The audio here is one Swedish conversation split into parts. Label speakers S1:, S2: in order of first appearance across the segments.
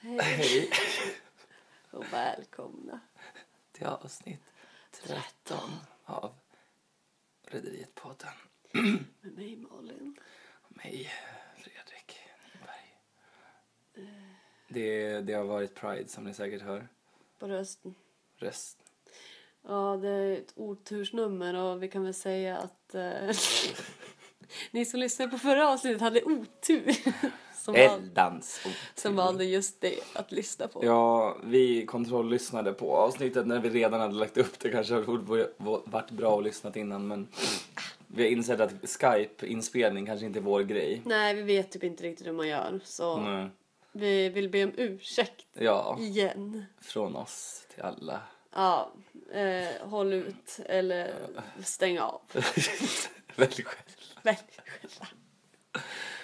S1: Hej
S2: och välkomna.
S1: till avsnitt 13 av Rederiet podden.
S2: Med mig Malin.
S1: Mig, Fredrik Nyberg.
S2: Eh.
S1: Det, det har varit Pride som ni säkert hör.
S2: På rösten.
S1: Röst.
S2: Ja, det är ett otursnummer och vi kan väl säga att eh, ni som lyssnade på förra avsnittet hade otur. Som, val,
S1: Eldans
S2: som valde just det att lyssna på.
S1: Ja, vi kontrolllyssnade på avsnittet när vi redan hade lagt upp det. Kanske hade varit bra att lyssnat innan men vi har insett att Skype-inspelning kanske inte är vår grej.
S2: Nej, vi vet typ inte riktigt hur man gör så
S1: Nej.
S2: vi vill be om ursäkt
S1: Ja,
S2: igen.
S1: från oss till alla.
S2: Ja, eh, håll ut eller stäng av.
S1: Väldigt själv.
S2: Välj själva.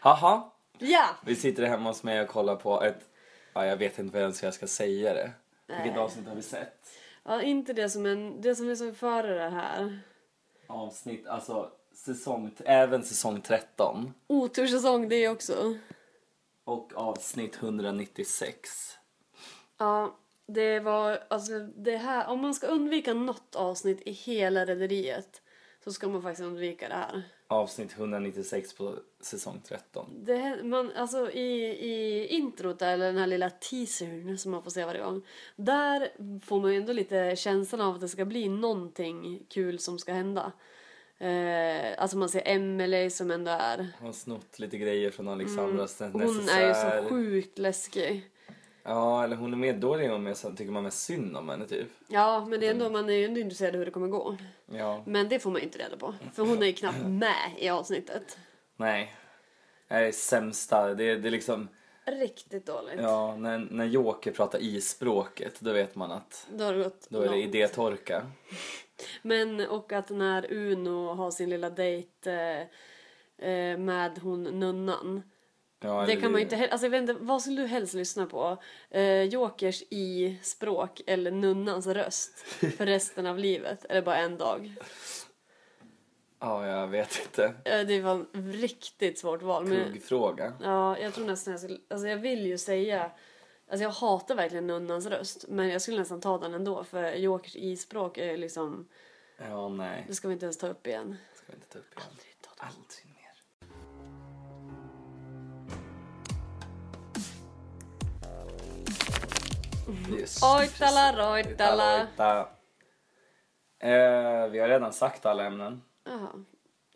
S1: Haha,
S2: Ja!
S1: vi sitter hemma hos mig och kollar på ett... Ja, jag vet inte ens hur jag ska säga det. Vilket avsnitt har vi sett?
S2: Ja, inte det som, en, det som är som före det här.
S1: Avsnitt, alltså säsong, även säsong 13
S2: Otursäsong det också.
S1: och avsnitt 196.
S2: Ja, det var alltså det här. Om man ska undvika något avsnitt i hela rederiet så ska man faktiskt undvika det här.
S1: Avsnitt 196 på säsong 13.
S2: Det, här- man, alltså i, i introt där, eller den här lilla teasern som man får se varje gång. Där får man ju ändå lite känslan av att det ska bli någonting kul som ska hända. Eh, alltså man ser Emelie som ändå är
S1: Hon har snott lite grejer från Alexandras mm,
S2: Hon är ju så sjukt läskig.
S1: Ja, eller hon är med, då är hon med, så tycker man mest synd om henne typ.
S2: Ja, men det är ändå, man är ju ändå intresserad av hur det kommer gå.
S1: Ja.
S2: Men det får man ju inte reda på, för hon är ju knappt
S1: Mm.
S2: med i avsnittet.
S1: Nej. Det här är sämsta, det är, det är liksom...
S2: Riktigt dåligt.
S1: Ja, när, när Joker pratar i-språket, då vet man att
S2: Då har det gått
S1: då är det
S2: långt.
S1: idétorka.
S2: Men och att när Uno har sin lilla dejt eh, eh, med hon nunnan.
S1: Ja,
S2: Det
S1: eller
S2: kan man ju inte heller, alltså jag vet inte, vad skulle du helst lyssna på? Eh, Jokers i språk eller nunnans röst för resten av livet? Eller bara en dag?
S1: Ja, jag vet inte.
S2: Eh, det var ett riktigt svårt val. Men,
S1: Kuggfråga.
S2: Ja, jag tror nästan jag skulle... Alltså jag vill ju säga... Alltså jag hatar verkligen nunnans röst, men jag skulle nästan ta den ändå för Jokers ispråk är ju liksom...
S1: Ja, nej.
S2: Det ska vi inte ens ta upp igen.
S1: Ska vi inte ta upp igen.
S2: Aldrig ta den.
S1: Aldrig mer. Just.
S2: Ojtala, rojtala.
S1: Ojtala, ojta. Eh, vi har redan sagt alla ämnen.
S2: Jaha.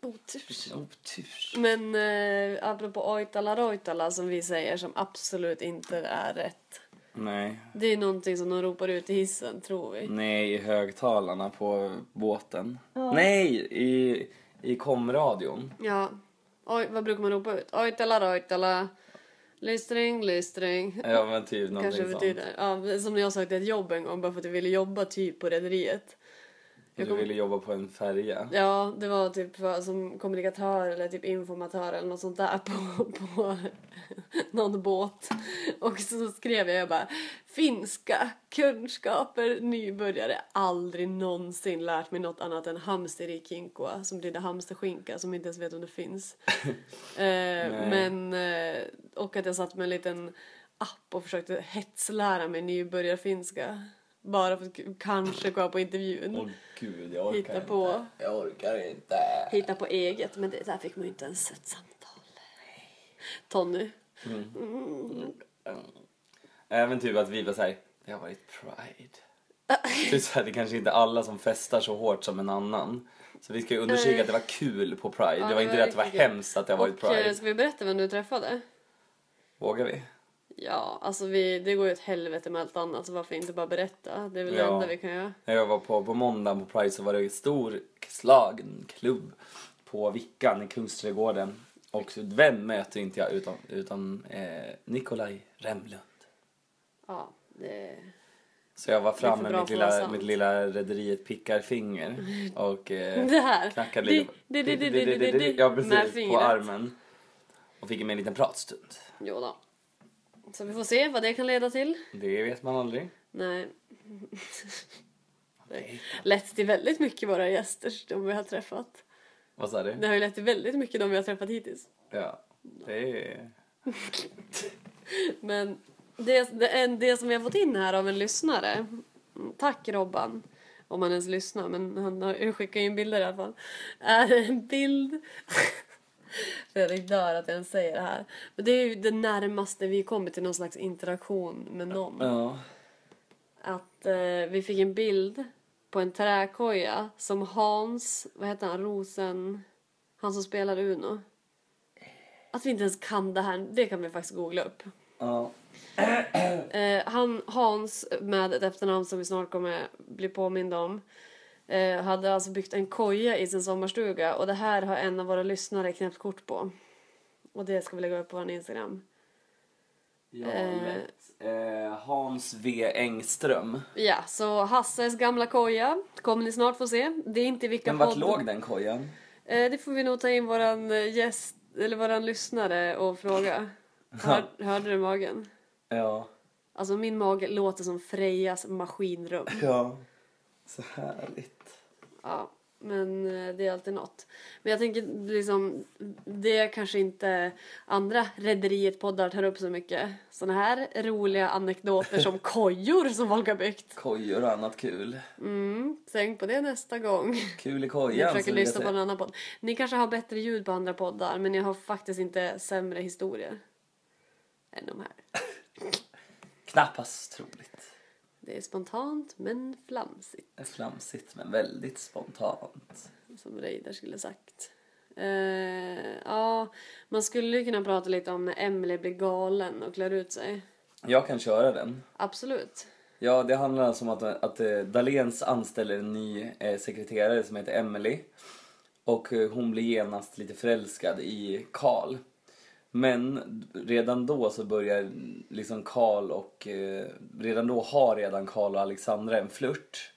S2: Otur.
S1: Otur.
S2: Men eh, apropå ojtala rojtala som vi säger som absolut inte är rätt.
S1: Nej.
S2: Det är någonting som de ropar ut i hissen, tror vi.
S1: Nej, i högtalarna på båten. Nej, i, i komradion.
S2: Ja. Oj, vad brukar man ropa ut? Ojtala rojtala. Lystring, lystring.
S1: Ja, men typ
S2: kanske
S1: någonting sånt.
S2: betyder. Ja, som när jag sökte ett jobb en gång bara för att jag ville jobba typ på rederiet. Jag
S1: Du
S2: kom-
S1: ville jobba på en färja.
S2: Ja, det var typ för, som kommunikatör eller typ informatör eller något sånt där på, på någon båt. Och så skrev jag, jag bara finska kunskaper nybörjare. Aldrig någonsin lärt mig något annat än hamsterikinkua som betyder hamsterskinka som inte ens vet om det finns. eh, men, eh, och att jag satt med en liten app och försökte hetslära mig nybörjarfinska. Bara för att k- kanske gå på intervjun.
S1: Åh gud, jag orkar
S2: Hitta
S1: inte.
S2: på.
S1: Jag orkar inte.
S2: hitta på eget. Men det där fick man ju inte ens ett samtal. Tony.
S1: Även typ att vi var såhär, det har varit pride. Det är, så här, det är kanske inte alla som festar så hårt som en annan. Så vi ska ju undersöka att det var kul på pride. det var
S2: det
S1: inte
S2: var
S1: det att det var
S2: riktigt kul.
S1: hemskt att det har varit
S2: Och eh,
S1: pride.
S2: ska vi berätta vem du träffade?
S1: Vågar vi?
S2: Ja, alltså vi, det går ju åt helvete med allt annat så varför inte bara berätta? Det är väl det
S1: Ja.
S2: enda vi kan göra.
S1: När jag var på, på måndag på Pride så var det en stor slagen klubb på Vickan i Kungsträdgården. Och vem möter inte jag utan, utan eh, Nikolaj Remlund.
S2: Ja, det...
S1: Så jag var framme
S2: för
S1: med
S2: bra
S1: mitt
S2: för att vara
S1: lilla,
S2: sant.
S1: mitt lilla rederiet pickarfinger och eh,
S2: Det här.
S1: knackade
S2: Di-
S1: lite.
S2: di- di- di- di- di- di- di-
S1: Ja,
S2: med
S1: precis. På
S2: fingret.
S1: armen. Och fick med en liten pratstund.
S2: Jo då. Så vi får se vad det kan leda till.
S1: Det vet man aldrig.
S2: Nej. Lett till väldigt mycket våra gäster, de vi har träffat.
S1: Vad sa
S2: Det
S1: du?
S2: har ju lett till väldigt mycket de vi har träffat hittills.
S1: Ja. Det är...
S2: Men Det, det, en- det som vi har fått in här av en lyssnare. mm, Tack Robban. Om han ens lyssnar, men han har skickat in bilder i alla fall. Är en bild... Fredrik dör att jag ens säger det här. Men det är ju det närmaste vi kommer till någon slags interaktion med någon.
S1: Ja.
S2: Att eh, vi fick en bild på en träkoja som Hans, vad heter han, Rosen, han som spelar Uno. Att vi inte ens kan det här, det kan vi faktiskt googla upp.
S1: ja.
S2: Eh, han, Hans med ett efternamn som vi snart kommer bli påminda om eh, hade alltså byggt en koja i sin sommarstuga och det här har en av våra lyssnare knäppt kort på. Och det ska vi lägga upp på vår Instagram.
S1: Ja,
S2: Eh.
S1: lätt. Eh, Hans V Engström.
S2: Ja, så Hasses gamla koja kommer ni snart få se. Det är inte i vilka
S1: Men vart
S2: podd-
S1: låg den kojan?
S2: Eh, det får vi nog ta in våran eh, gäst, eller våran lyssnare och fråga. Hör, hörde du magen?
S1: Ja.
S2: Alltså min mage låter som Frejas maskinrum.
S1: Ja. Så härligt.
S2: Ja, men eh, det är alltid något. Men jag tänker liksom, det kanske inte andra Rederiet poddar tar upp så mycket. Såna här roliga anekdoter som kojor som folk har byggt.
S1: Kojor och annat kul.
S2: Mm, tänk på det nästa gång.
S1: Kul i
S2: Jag
S1: kojan. så
S2: försöker
S1: vill jag
S2: lyssna på
S1: säga.
S2: en annan podd. Ni kanske har bättre ljud på andra poddar men jag har faktiskt inte sämre historier. Än de här.
S1: Knappast troligt.
S2: Det är spontant men flamsigt.
S1: Det är Flamsigt men väldigt spontant.
S2: Som Reidar skulle sagt. Eh, ja, man skulle ju kunna prata lite om när Emily blir galen och klär ut sig.
S1: Jag kan köra den.
S2: Absolut.
S1: Ja, det handlar alltså om att, att eh, Dahléns anställer en ny eh, sekreterare som heter Emily. Och eh, hon blir genast lite förälskad i Karl. Men redan då så börjar liksom Karl och... Eh, redan då har redan Karl och Alexandra en flört.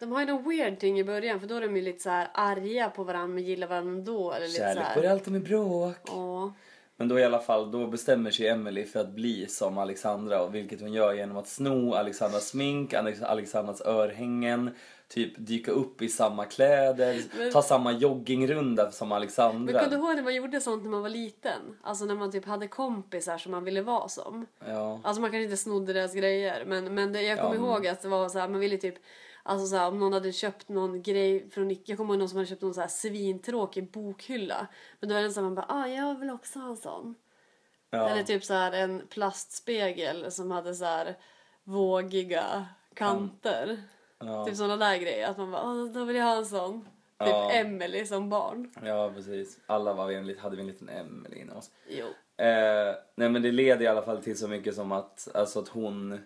S2: De har ju någon weird ting i början för då är de ju lite så här arga på varandra men gillar varandra ändå. Eller lite så
S1: Kärlek
S2: här.
S1: börjar alltid med bråk.
S2: Ja.
S1: Men då i alla fall, då bestämmer sig Emily för att bli som Alexandra och vilket hon gör genom att sno Alexandras smink, Alex- Alexandras örhängen, typ dyka upp i samma kläder,
S2: Men-
S1: ta samma joggingrunda som Alexandra.
S2: Men kommer du ihåg när man gjorde sånt när man var liten? Alltså när man typ hade kompisar som man ville vara som.
S1: Ja.
S2: Alltså man kanske inte snodde deras grejer men, men det, jag kommer
S1: Ja, men-
S2: ihåg att det var så här, man ville typ Alltså så här, om någon hade köpt någon grej från Ica, jag kommer ihåg någon som hade köpt någon så här svintråkig bokhylla. Men då är det så här, man bara ah jag vill också ha en sån. Eller
S1: ja.
S2: typ så här en plastspegel som hade så här vågiga kanter.
S1: Ja.
S2: Typ sådana där grejer att man bara ah då vill jag ha en sån. Typ
S1: Ja.
S2: Emily som barn.
S1: ja, precis. Alla var vi en, lit- hade vi en liten Emily inom oss.
S2: Jo.
S1: Eh, nej men det leder i alla fall till så mycket som att, alltså att hon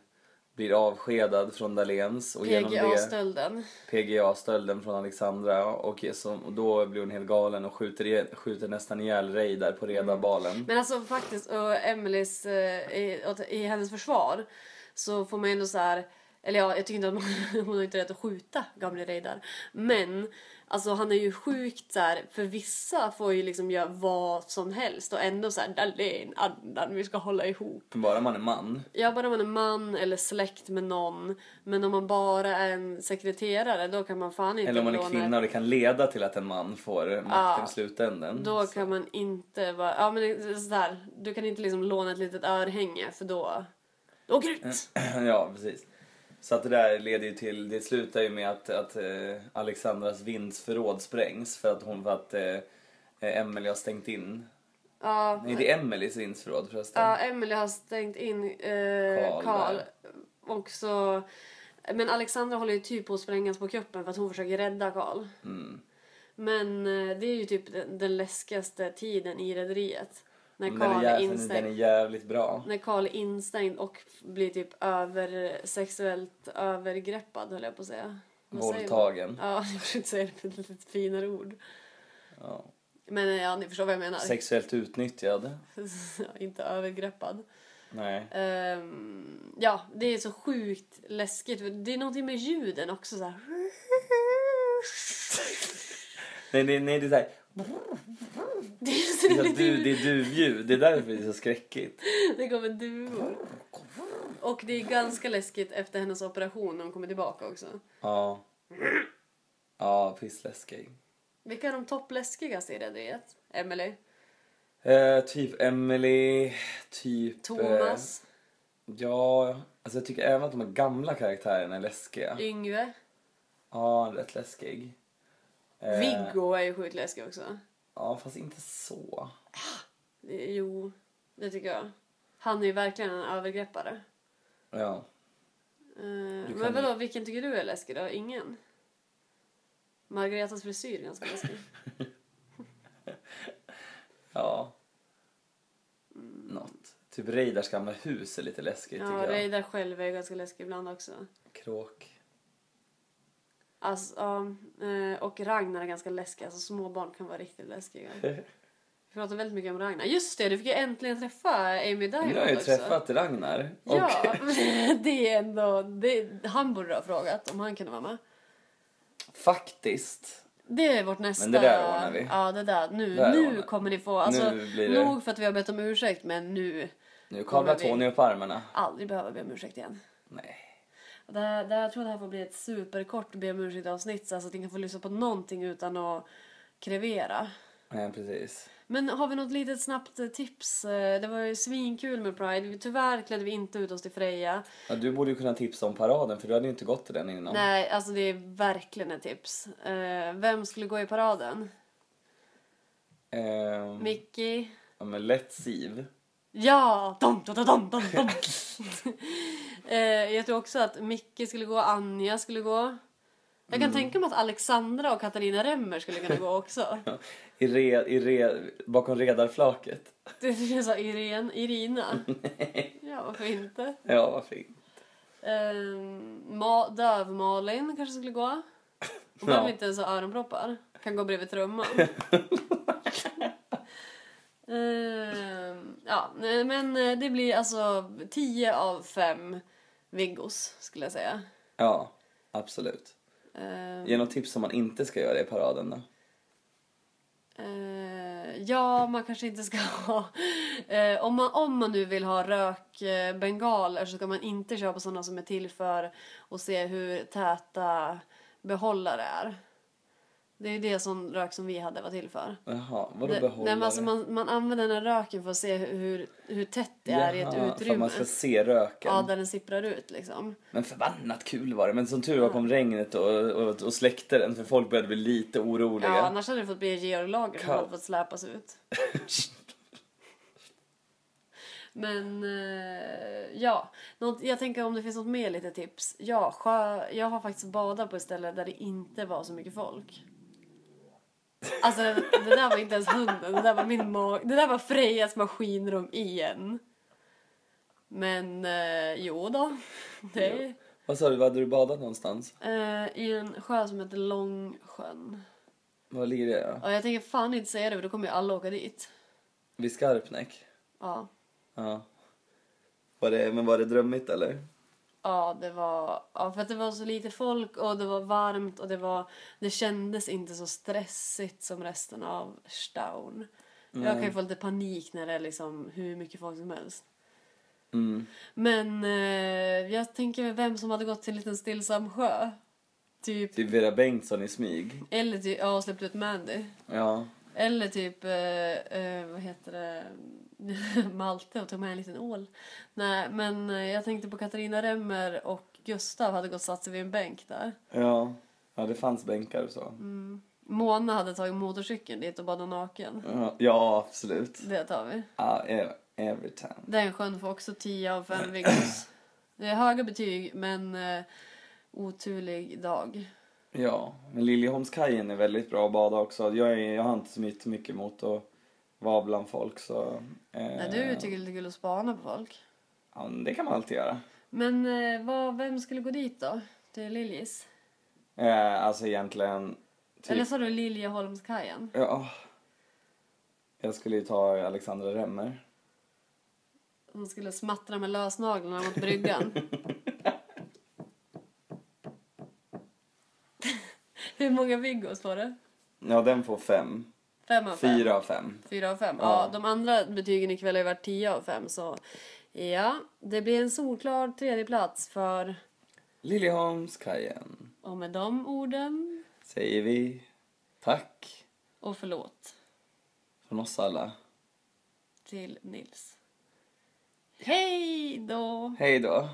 S1: blir avskedad från Dahléns och genom det...
S2: PGA-stölden.
S1: PGA-stölden från Alexandra och, som, och då blir hon helt galen och skjuter, i- skjuter nästan ihjäl Reidar
S2: Mm.
S1: på redarbalen.
S2: Men alltså faktiskt, och Emelies, eh, i, åt- i hennes försvar så får man ju ändå så här. Eller ja, jag tycker inte att man, hon har inte rätt att skjuta gamle Reidar. Men alltså han är ju sjukt så här, för vissa får ju liksom göra vad som helst och ändå så här Dahlén, andan, vi ska hålla ihop.
S1: Bara man är man.
S2: Ja, bara om man är man eller släkt med någon. Men om man bara är en sekreterare då kan man fan inte
S1: Eller om man är
S2: låna
S1: kvinna och det kan leda till att en man får makten
S2: Ja.
S1: i slutänden.
S2: Då kan man inte vara, ja men det är sådär, du kan inte liksom låna ett litet örhänge för då, då åker
S1: Mm.
S2: du ut!
S1: ja, precis. Så att det där leder ju till, det slutar ju med att, att eh, Alexandras vindsförråd sprängs för att hon, för att eh, eh, Emily har stängt in.
S2: Ja,
S1: Nej, det är Emelies vindsförråd förresten.
S2: ja Emily har stängt in
S1: Karl
S2: eh, Karl.
S1: där.
S2: Och så, men Alexandra håller ju typ på att sprängas på kuppen för att hon försöker rädda Karl.
S1: Mm.
S2: Men eh, det är ju typ den, den läskigaste tiden i rederiet. När
S1: Den, är
S2: Karl är
S1: jävligt, den är
S2: instängd.
S1: jävligt bra.
S2: När Karl är instängd och blir typ över, sexuellt övergreppad höll jag på att säga. Vad säger man?
S1: Våldtagen.
S2: Ja, jag försökte säga det på ett lite finare ord.
S1: Ja.
S2: Men eh, ja, ni förstår vad jag menar.
S1: Sexuellt utnyttjad.
S2: Ja, Inte övergreppad.
S1: Nej.
S2: Ehm, ja, det är så sjukt läskigt. för Det är någonting med ljuden också så här.
S1: Nej, nej, nej det är såhär...
S2: Det, är
S1: Det
S2: så
S1: är du, det
S2: lite,
S1: är duvljud. Det är därför det är så skräckigt.
S2: det kommer duor. Och det är ganska läskigt efter hennes operation när hon kommer tillbaka också.
S1: Ja. Ja, pissläskig.
S2: Vilka är de toppläskigaste i rederiet? Emily?
S1: Eh, typ Emily, typ... eh,
S2: Thomas?
S1: Ja, alltså jag tycker även att de här gamla karaktärerna är läskiga.
S2: Yngve.
S1: Ja, rätt läskig. Eh,
S2: Viggo är ju sjukt läskig också.
S1: Ja, fast inte så.
S2: Jo, det tycker jag. Han är ju verkligen en övergreppare.
S1: Ja.
S2: Eh,
S1: kan
S2: men vadå, vilken tycker du är läskig då? Ingen? Margaretas frisyr är ganska läskig.
S1: Ja. Något. Typ Reidars gamla hus är lite läskigt
S2: Mm. Ja,
S1: tycker jag.
S2: Reidar själv är ju ganska läskig ibland också.
S1: Kråk.
S2: Alltså, ja, eh, och Ragnar är ganska läskig. Alltså, små barn kan vara riktigt läskiga. Vi pratar väldigt mycket om Ragnar. Just det, du fick ju äntligen träffa Amy Diamond
S1: Nu har jag ju
S2: också.
S1: träffat Ragnar. Och
S2: Ja, det är ändå... Det, han borde ha frågat om han kunde vara med.
S1: faktiskt.
S2: Det är vårt nästa...
S1: Men det där ordnar vi.
S2: Ja, det där. Nu,
S1: Det där
S2: nu
S1: ordnar vi.
S2: kommer ni få... Alltså,
S1: Nu blir det-
S2: Nog för att vi har bett om ursäkt, men nu...
S1: Nu kavlar
S2: Kommer vi-
S1: Tony upp armarna.
S2: Aldrig behöver be om ursäkt igen.
S1: Nej.
S2: Och Det här, det här, jag tror det här får bli ett superkort be om ursäkt-avsnitt så alltså att ni kan få lyssna på någonting utan att krevera.
S1: Nej, precis.
S2: Men har vi något litet snabbt eh, tips? Eh, Det var ju svinkul med Pride. Vi- Tyvärr klädde vi inte ut oss till Freja.
S1: Ja, du borde ju kunna tipsa om paraden för du hade ju inte gått till den innan.
S2: Nej, alltså det är verkligen ett tips. Eh, vem skulle gå i paraden?
S1: Ehm,
S2: Mickey?
S1: ja, men lätt Siv.
S2: Ja! Dom, dom, dom, dom, dom, dom. eh, jag tror också att Micke skulle gå, Anja skulle gå. Jag kan tänka mig att Alexandra och Katarina Remmer skulle kunna gå också.
S1: I re, i re, bakom redarflaket.
S2: Det är så Irene, Irina. ja, varför inte?
S1: Ja, vad fint.
S2: Ehm, Ma- Döv-Malin kanske skulle gå. Hon behöver inte ens ha öronproppar. Kan gå bredvid trumman. Ehm, ja, nej, men eh, det blir alltså 10 av 5 Viggos skulle jag säga.
S1: Ja, absolut.
S2: Ehm,
S1: Ge något tips som man inte ska göra i paraden då.
S2: Eh, ja, man kanske inte ska ha... Eh, om, man, om man nu vill ha rökbengaler så ska man inte köpa sådana som är till för att se hur täta behållare är. Det är ju det som rök som vi hade var till för.
S1: Jaha,
S2: Det,
S1: vadå
S2: nej,
S1: behållare?
S2: men alltså man, man använder den här röken för att se hur, hur, hur tätt det är i ett
S1: Jaha, för att
S2: utrymme.
S1: man ska se röken.
S2: Ja, där den sipprar ut liksom.
S1: Men förbannat kul var det. Men som tur var kom regnet och, och, och släckte den för folk började bli lite oroliga.
S2: Ja, annars hade det fått bli Georg Lager som
S1: Kaos.
S2: hade fått släpas ut. Men eh, ja, något, jag tänker om det finns något mer lite tips. Ja, sjö, jag har faktiskt badat på ett ställe där det inte var så mycket folk. Alltså det, det där var inte ens hunden, det där var min mag, det där var Frejas maskinrum igen. Men eh, jo då, det,
S1: Vad sa du, vad hade du badat någonstans?
S2: eh, i en sjö som heter Långsjön.
S1: Var ligger det då?
S2: Ja, jag tänker fan inte säga det för då kommer ju alla åka dit.
S1: Vid Skarpnäck?
S2: Ja.
S1: Ja. Var det, men var det drömmigt eller?
S2: Ja, det var... Ja, för att det var så lite folk och det var varmt och det var... Det kändes inte så stressigt som resten av Staun. Jag kan ju få lite panik när det är liksom hur mycket folk som helst.
S1: Mm.
S2: Men eh, jag tänker vem som hade gått till en liten stillsam sjö. Typ...
S1: Typ Vera Bengtsson i smyg?
S2: Eller typ... Ja, och släppt ut Mandy.
S1: Ja.
S2: Eller typ, eh, eh, vad heter det, Malte och tog med en liten ål. Nej, men eh, jag tänkte på Katarina Remmer och Gustav hade gått och satt sig vid en bänk där.
S1: Ja. Ja, det fanns bänkar och så.
S2: Mona hade tagit motorcykeln dit och badat naken.
S1: Ja, Ja, absolut.
S2: Det tar vi.
S1: Ja, e- every time.
S2: Den sjön får också 10 av 5 Viggos. Det är höga betyg, men eh, oturlig dag.
S1: Ja, men Liljeholmskajen är väldigt bra att bada också. Jag, är, jag har inte så mycket- mycket emot att vara bland folk så... Eh,
S2: Nej, du tycker det är lite kul att spana på folk.
S1: ja, men det kan man alltid göra.
S2: Men eh, vad, vem skulle gå dit då? Till Liljis?
S1: Eh, alltså egentligen... Typ,
S2: Eller sa du Liljeholmskajen?
S1: ja, jag skulle ju ta Alexandra Remmer.
S2: Hon skulle smattra med lösnaglarna mot bryggan. Hur många Viggos var det?
S1: Ja, den får fem.
S2: Fem av fem?
S1: Fyra av fem.
S2: Fyra av fem. Ja.
S1: Ja.
S2: de andra betygen ikväll har ju varit tio av fem så ja, det blir en solklar tredjeplats för
S1: Liljeholmskajen
S2: och med de orden
S1: säger vi tack
S2: och förlåt
S1: från oss alla.
S2: till Nils. Hej då!
S1: Hej då.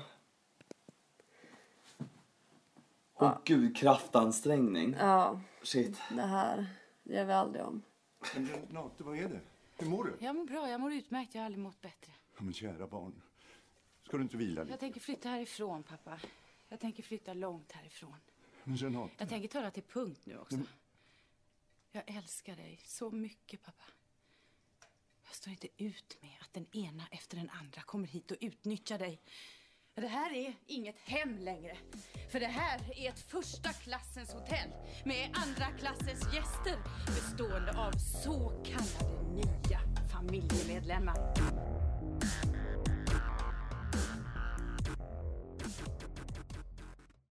S1: Åh gud, kraftansträngning.
S2: Ja,
S1: Shit.
S2: det här gör vi aldrig om.
S3: Men Renate, vad är det? Hur mår du?
S4: Jag mår bra, jag mår utmärkt. Jag har aldrig mått bättre.
S3: Ja, men kära barn, ska du inte vila
S4: Jag
S3: lite?
S4: tänker flytta härifrån, pappa. Jag tänker flytta långt härifrån.
S3: Men Renate,
S4: Jag tänker ta det till punkt nu också. Jag älskar dig så mycket, pappa. Jag står inte ut med att den ena efter den andra kommer hit och utnyttjar dig. Men Det här är inget hem längre. För det här är ett första klassens hotell med andra klassens gäster bestående av så kallade nya familjemedlemmar.